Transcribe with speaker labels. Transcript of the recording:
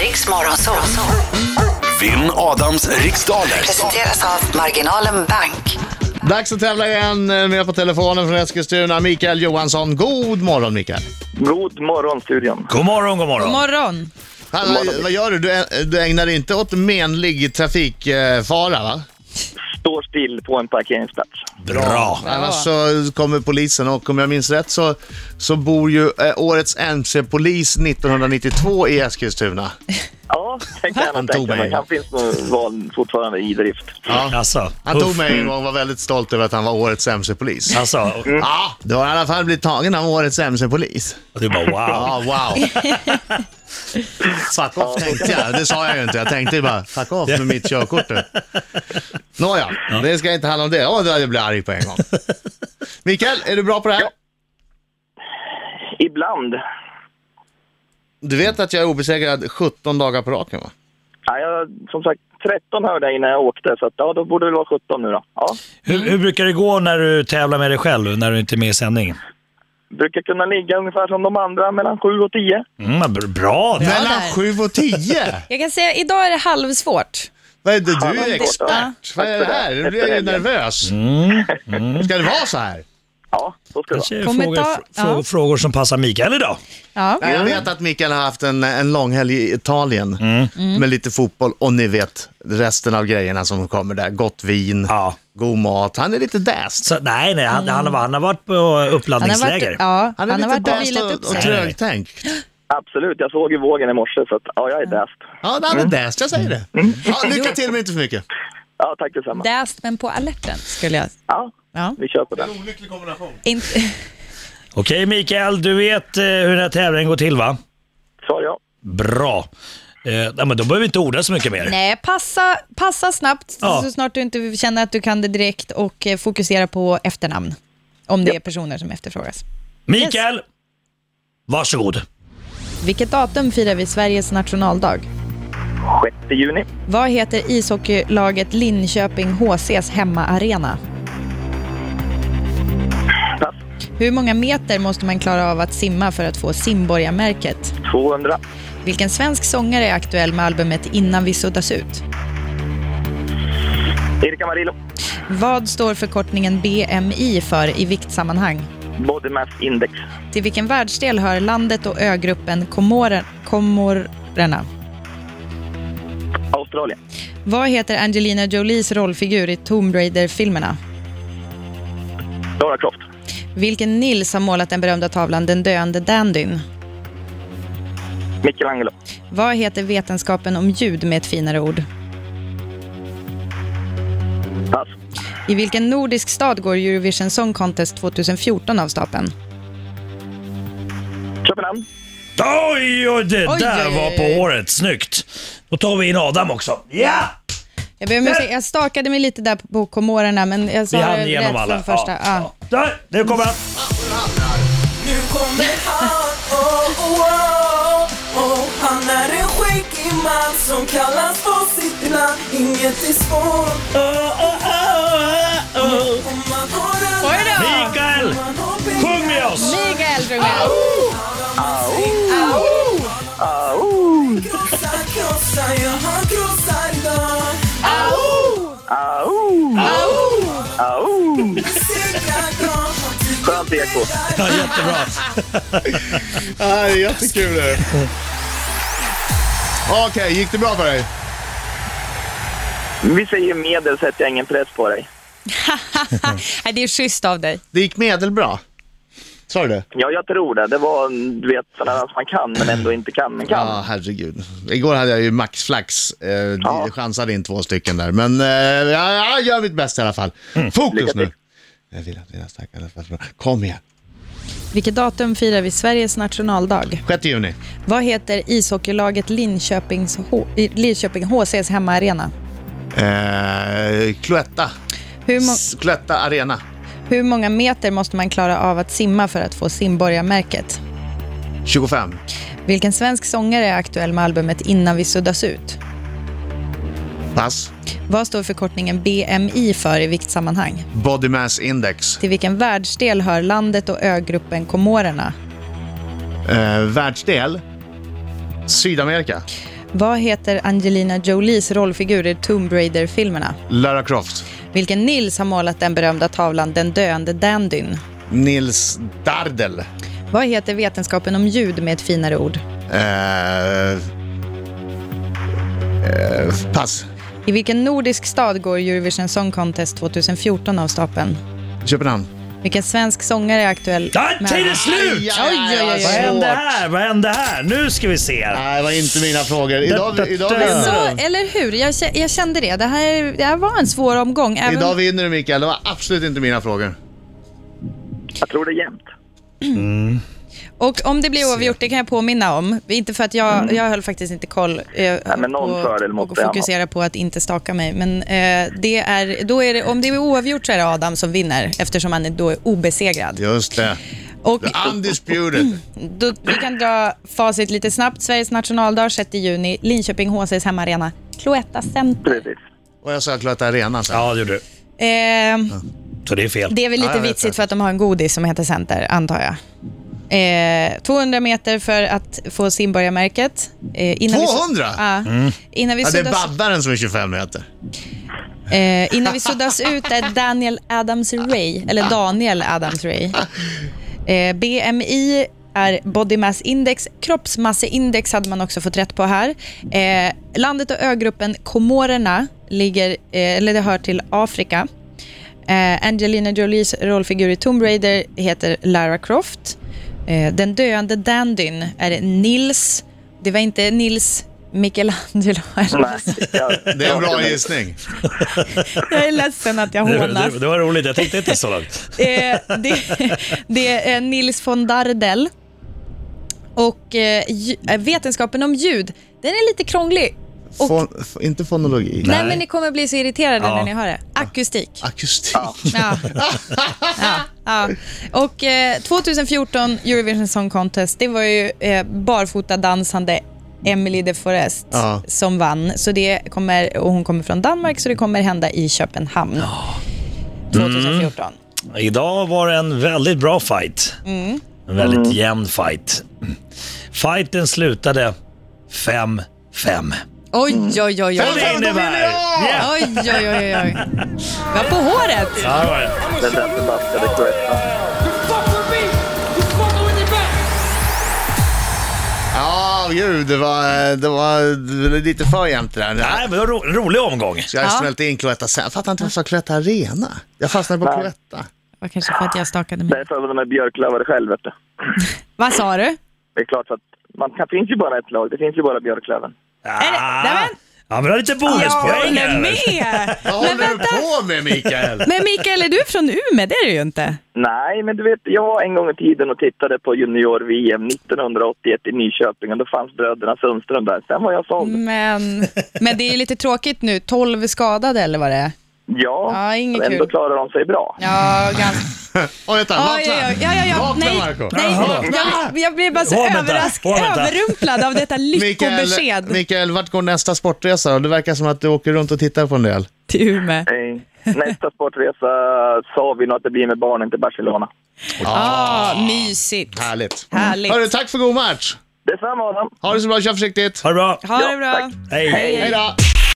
Speaker 1: Riks Morgonzoo.
Speaker 2: Vinn Adams riksdaler.
Speaker 1: Presenteras av Marginalen Bank.
Speaker 3: Dags att tävla igen. Eh, Med på telefonen från Eskilstuna, Mikael Johansson. God morgon Mikael!
Speaker 4: God morgon, studion.
Speaker 5: God morgon, god
Speaker 6: God
Speaker 5: morgon.
Speaker 6: morgon.
Speaker 3: Hallå, vad gör du? du? ä- Du ägnar dig inte åt menlig trafikfara va?
Speaker 4: Står still på en parkeringsplats.
Speaker 5: Bra.
Speaker 3: Annars så kommer polisen och om jag minns rätt så, så bor ju eh, årets MC-polis 1992 i Eskilstuna.
Speaker 4: Ja, det kan jag
Speaker 3: Han
Speaker 4: nog
Speaker 3: tog
Speaker 4: tänka
Speaker 3: mig.
Speaker 4: mig. Han finns nog val fortfarande i drift.
Speaker 3: Ja.
Speaker 5: Alltså,
Speaker 3: Han tog
Speaker 5: uff.
Speaker 3: mig en gång och var väldigt stolt över att han var årets MC-polis.
Speaker 5: Alltså,
Speaker 3: Ja, du har i alla fall blivit tagen av årets MC-polis.
Speaker 5: och du bara wow.
Speaker 3: Ja, Ah, wow. Fuck off tänkte jag. Det sa jag ju inte. Jag tänkte ju bara fuck off med mitt körkort nu. Nåja, det ska inte handla om det. Åh, då jag blir arg på en gång. Mikael, är du bra på det här?
Speaker 4: Ibland.
Speaker 3: Du vet att jag är obesegrad 17 dagar på raken va?
Speaker 4: Ja, jag, som sagt, 13 hörde jag innan jag åkte, så att, ja, då borde det väl vara 17 nu då. Ja.
Speaker 5: Hur, hur brukar det gå när du tävlar med dig själv, när du inte är med i sändningen?
Speaker 4: Brukar kunna ligga ungefär som de andra, mellan 7 och 10.
Speaker 5: Mm, br- bra!
Speaker 6: Ja,
Speaker 3: Mellan
Speaker 6: där.
Speaker 3: 7 och 10?
Speaker 6: Jag kan säga idag är det halvsvårt.
Speaker 3: Vad är det? Du är
Speaker 4: Ja,
Speaker 3: ju expert. Vad är det här? Nu blir jag ju nervös. Ska det vara så här?
Speaker 4: Ja, så ska det vara.
Speaker 5: Kanske
Speaker 6: Kommer
Speaker 5: frågor,
Speaker 6: ta-
Speaker 5: fr- frågor,
Speaker 6: ja.
Speaker 5: frågor som passar Mikael idag.
Speaker 6: Ja.
Speaker 3: Jag
Speaker 5: Mm.
Speaker 3: vet att Mikael har haft en, en lång helg i Italien
Speaker 5: Mm.
Speaker 3: med lite fotboll och ni vet resten av grejerna som kommer där. Gott vin,
Speaker 5: Ja.
Speaker 3: god mat. Han är lite däst.
Speaker 5: Så, nej, nej, han, han, har, han har varit på
Speaker 6: Han har varit,
Speaker 5: uppladdningsläger.
Speaker 6: ja,
Speaker 3: Han är
Speaker 6: han
Speaker 3: lite
Speaker 6: har varit och
Speaker 3: däst
Speaker 6: vilat upp
Speaker 3: och, och
Speaker 6: sig.
Speaker 3: trögtänkt.
Speaker 4: Absolut, jag såg ju vågen i morse, så att, ja, jag är däst.
Speaker 3: Ja, han är
Speaker 5: Mm.
Speaker 3: däst, jag säger det. Ja, lycka till men inte för mycket.
Speaker 4: Ja, tack detsamma.
Speaker 6: Däst men på alerten skulle jag...
Speaker 4: Ja,
Speaker 6: Ja.
Speaker 4: vi kör på den.
Speaker 6: Inte...
Speaker 5: Okej Mikael, du vet eh, hur den här tävlingen går till va?
Speaker 4: Svar ja.
Speaker 5: Bra. Eh, nej, men då behöver vi inte orda så mycket mer.
Speaker 6: Nej, passa, passa snabbt
Speaker 5: Ja.
Speaker 6: så snart du inte känner att du kan det direkt och eh, fokusera på efternamn. Om det är personer som efterfrågas.
Speaker 5: Mikael, varsågod.
Speaker 6: Vilket datum firar vi Sveriges nationaldag?
Speaker 4: 6 juni.
Speaker 6: Vad heter ishockeylaget Linköping HCs hemmaarena?
Speaker 4: Pass.
Speaker 6: Hur många meter måste man klara av att simma för att få simborgarmärket?
Speaker 4: 200.
Speaker 6: Vilken svensk sångare är aktuell med albumet Innan vi suddas ut?
Speaker 4: Erik Amarillo.
Speaker 6: Vad står förkortningen BMI för i viktsammanhang?
Speaker 4: Body mass index.
Speaker 6: Till vilken världsdel hör landet och ögruppen Komoren- Komorerna?
Speaker 4: Australien.
Speaker 6: Vad heter Angelina Jolies rollfigur i Tomb Raider-filmerna?
Speaker 4: Lara Croft.
Speaker 6: Vilken Nils har målat den berömda tavlan Den döende dandyn?
Speaker 4: Michelangelo.
Speaker 6: Vad heter vetenskapen om ljud med ett finare ord?
Speaker 4: Pass.
Speaker 6: I vilken nordisk stad går Eurovision Song Contest 2014 av stapeln?
Speaker 4: Köpenhamn.
Speaker 5: Oj, oj, det
Speaker 6: Oj,
Speaker 5: där
Speaker 6: oj,
Speaker 5: var
Speaker 6: oj,
Speaker 5: på
Speaker 6: oj.
Speaker 5: håret. Snyggt. Då tar vi in Adam också. Ja!
Speaker 6: Jag ber om ursäkt, jag stakade mig lite där på komorerna men jag sa
Speaker 5: Vi
Speaker 6: det
Speaker 5: hann igenom
Speaker 6: rätt
Speaker 5: alla.
Speaker 6: från första.
Speaker 5: Ja.
Speaker 6: Ja.
Speaker 5: Ja. Där, nu kommer han.
Speaker 7: Nu kommer han, oh, oh, oh, oh. Han är en skäggig man som kallas på sitt namn Inget är svårt
Speaker 5: Oh, oh, oh, oh, oh.
Speaker 7: om man har en
Speaker 6: Oj då!
Speaker 5: Mikael,
Speaker 7: man har pengar.
Speaker 5: sjung med oss!
Speaker 6: Mikael Rungell!
Speaker 7: Krossa, krossa, ja han krossar dem
Speaker 4: Au!
Speaker 7: Segrar dem
Speaker 4: Skönt eko.
Speaker 5: Ja, jättebra.
Speaker 3: Ja, det är jättekul det. Okej, gick det bra för dig?
Speaker 4: Vi säger medel, sätter jag ingen press på dig.
Speaker 6: Nej, det är schysst av dig.
Speaker 3: Det gick medelbra. Sa du det?
Speaker 4: Ja, jag tror det. Det var, du vet, sådana man kan men ändå inte kan, men kan.
Speaker 3: Ja, herregud. Igår hade jag ju maxflax. Eh,
Speaker 4: Ja.
Speaker 3: chansade in två stycken där. Men eh, jag, jag gör mitt bästa i alla fall. Fokus
Speaker 4: Mm. Lycka
Speaker 3: nu.
Speaker 4: till.
Speaker 3: Jag vill att dina stackare ska vara bra. Kom igen.
Speaker 6: Vilket datum firar vi Sveriges nationaldag?
Speaker 3: 6 juni.
Speaker 6: Vad heter ishockeylaget Linköpings H- i- Linköping HCs hemmaarena?
Speaker 3: Eh, Cloetta.
Speaker 6: Hur, mo-
Speaker 3: S- Cloetta Arena.
Speaker 6: hur många meter måste man klara av att simma för att få simborgarmärket?
Speaker 3: 25.
Speaker 6: Vilken svensk sångare är aktuell med albumet Innan vi suddas ut?
Speaker 3: Pass.
Speaker 6: Vad står förkortningen BMI för i viktsammanhang?
Speaker 3: Body Mass Index.
Speaker 6: Till vilken världsdel hör landet och ögruppen Komorerna?
Speaker 3: Eh, världsdel. Sydamerika.
Speaker 6: Vad heter Angelina Jolies rollfigur i Tomb Raider-filmerna?
Speaker 3: Lara Croft.
Speaker 6: Vilken Nils har målat den berömda tavlan Den döende dandyn?
Speaker 3: Nils Dardel.
Speaker 6: Vad heter vetenskapen om ljud med ett finare ord?
Speaker 3: Eh, eh, pass.
Speaker 6: I vilken nordisk stad går Eurovision Song Contest 2014 av stapeln?
Speaker 3: Köpenhamn.
Speaker 6: Vilken svensk sångare är aktuell
Speaker 5: Där, tiden är slut!
Speaker 6: Oj, oj, oj, oj.
Speaker 5: Vad hände här? Vad hände här? Nu ska vi se. här.
Speaker 3: Nej, det var inte mina frågor.
Speaker 5: Da,
Speaker 3: Idag,
Speaker 5: da,
Speaker 3: idag
Speaker 5: da.
Speaker 3: vinner
Speaker 6: Så,
Speaker 3: du.
Speaker 6: eller hur? Jag, kä- jag kände det. Det här, det här var en svår omgång. Även,
Speaker 3: Idag vinner du Mikael. Det var absolut inte mina frågor.
Speaker 4: Jag tror det är jämnt.
Speaker 6: Och om det blir oavgjort, det kan jag påminna om. Inte för att jag, jag höll faktiskt inte koll. Nej,
Speaker 4: men någon fördel måste
Speaker 6: och
Speaker 4: jag ha.
Speaker 6: fokusera på att inte staka mig. Men eh, det är, då är det, om det är oavgjort så är det Adam som vinner eftersom han är- då är obesegrad.
Speaker 3: Just det.
Speaker 6: Och
Speaker 3: Undisputed.
Speaker 6: då, vi kan dra facit lite snabbt. Sveriges nationaldag 6 juni, Linköping HCs hemmaarena, Cloetta Center.
Speaker 4: Precis.
Speaker 3: Och jag sa Cloetta Arena sen.
Speaker 5: Ja, det gjorde du.
Speaker 6: Eh,
Speaker 5: Så det är fel.
Speaker 6: Det är väl
Speaker 3: Ja,
Speaker 6: lite
Speaker 3: jag vet
Speaker 6: vitsigt
Speaker 3: det.
Speaker 6: för att de har en godis som heter Center, antar jag. Eh, 200 meter för att få simborgarmärket. Eh, innan
Speaker 3: 200?
Speaker 6: Vi, ja. innan, vi
Speaker 3: Mm. Ja, det är
Speaker 6: suddas,
Speaker 3: Babbaren som är 25 meter.
Speaker 6: eh, innan vi suddas ut är Daniel Adams-Ray, eller Daniel Adams-Ray. Eh, BMI är body mass index. Kroppsmasseindex hade man också fått rätt på här. Eh, landet och ögruppen Komorerna ligger, eh, eller det hör till Afrika. Eh, Angelina Jolies rollfigur i Tomb Raider heter Lara Croft. Eh, den döende dandyn är Nils. Det var inte Nils Michelangelo.
Speaker 4: Nej, jag,
Speaker 3: Det är en bra gissning.
Speaker 6: Jag är ledsen att jag
Speaker 5: Det-
Speaker 6: hånar.
Speaker 5: det, det var roligt. Jag tänkte inte så långt.
Speaker 6: Eh, det, det är Nils von Dardel. Och eh, ju- eh, vetenskapen om ljud, den är lite krånglig. Och, nej.
Speaker 3: Fon, f- inte fonologi.
Speaker 6: men ni kommer bli så irriterade
Speaker 5: Ja.
Speaker 6: när ni hör det. Akustik.
Speaker 3: Akustik.
Speaker 6: Ja. ja, ja. Och eh, 2014 Eurovision Song Contest, det var ju eh, barfota dansande Emily de Forest
Speaker 3: Ja.
Speaker 6: som vann. Så det kommer, och hon kommer från Danmark, så det kommer hända i Köpenhamn
Speaker 5: Mm.
Speaker 6: 2014.
Speaker 5: Idag var det en väldigt bra fight.
Speaker 6: Mm.
Speaker 5: En väldigt jämn fight. Fighten slutade 5-5.
Speaker 6: Oj, oj, oj. oj.
Speaker 5: Och det innebär... Yeah.
Speaker 6: Oj, oj, oj, oj, oj. Jag på håret.
Speaker 5: Ja, det var det.
Speaker 4: den där förbaskade Cloetta.
Speaker 3: Ja, gud, det var, det var lite för jämnt det där.
Speaker 5: Nej, men det var ro, en rolig omgång.
Speaker 3: Så jag
Speaker 6: Ja.
Speaker 3: smälte in Cloetta sen. Jag fattar inte varför jag sa Cloetta Arena. Jag fastnade på
Speaker 4: Nej.
Speaker 3: Cloetta.
Speaker 6: Det var kanske för att jag stakade mig.
Speaker 4: Därför var de här björklövare själv, vet du.
Speaker 6: Vad sa du?
Speaker 4: Det är klart att man kan, finns ju bara ett lag. Det finns ju bara Björklöven.
Speaker 5: Ah.
Speaker 6: Nej, men-
Speaker 5: Ja, men du har lite bonuspoäng här.
Speaker 6: med.
Speaker 3: Vad håller du på med Mikael?
Speaker 6: Men Mikael, är du från Umeå? Det är du ju inte.
Speaker 4: Nej, men du vet, jag var en gång i tiden och tittade på junior-VM 1981 i Nyköping och då fanns bröderna Sundström där. Sen var jag såld.
Speaker 6: Mm. Men, men det är ju lite tråkigt nu. 12 skadade eller vad det är.
Speaker 4: Ja,
Speaker 6: Ja, inget
Speaker 4: ändå
Speaker 6: kul.
Speaker 4: klarar de sig bra.
Speaker 6: Ja, ganska.
Speaker 3: Oj, vänta.
Speaker 6: Ja,
Speaker 3: Vakna.
Speaker 6: ja, ja, ja, ja, ja.
Speaker 3: Vakna,
Speaker 6: Nej,
Speaker 3: Marco.
Speaker 6: nej. Jag, jag blir bara så
Speaker 5: Åh, vänta.
Speaker 6: överraskad,
Speaker 5: Åh, vänta.
Speaker 6: överrumplad av detta
Speaker 3: Mikael,
Speaker 6: lyckobesked
Speaker 3: Mikael, vart går nästa sportresa då? Det verkar som att du åker runt och tittar på en del.
Speaker 6: till Umeå.
Speaker 4: Eh, Nästa sportresa sa vi nog att det blir med barnen till Barcelona.
Speaker 6: Ah, mysigt.
Speaker 3: Härligt.
Speaker 6: Härligt.
Speaker 3: Hörru, tack för god match.
Speaker 4: Detsamma, Adam.
Speaker 3: Ha det så bra, kör försiktigt.
Speaker 5: Ha det bra.
Speaker 6: Ha det bra.
Speaker 5: Hej.
Speaker 3: Hej då.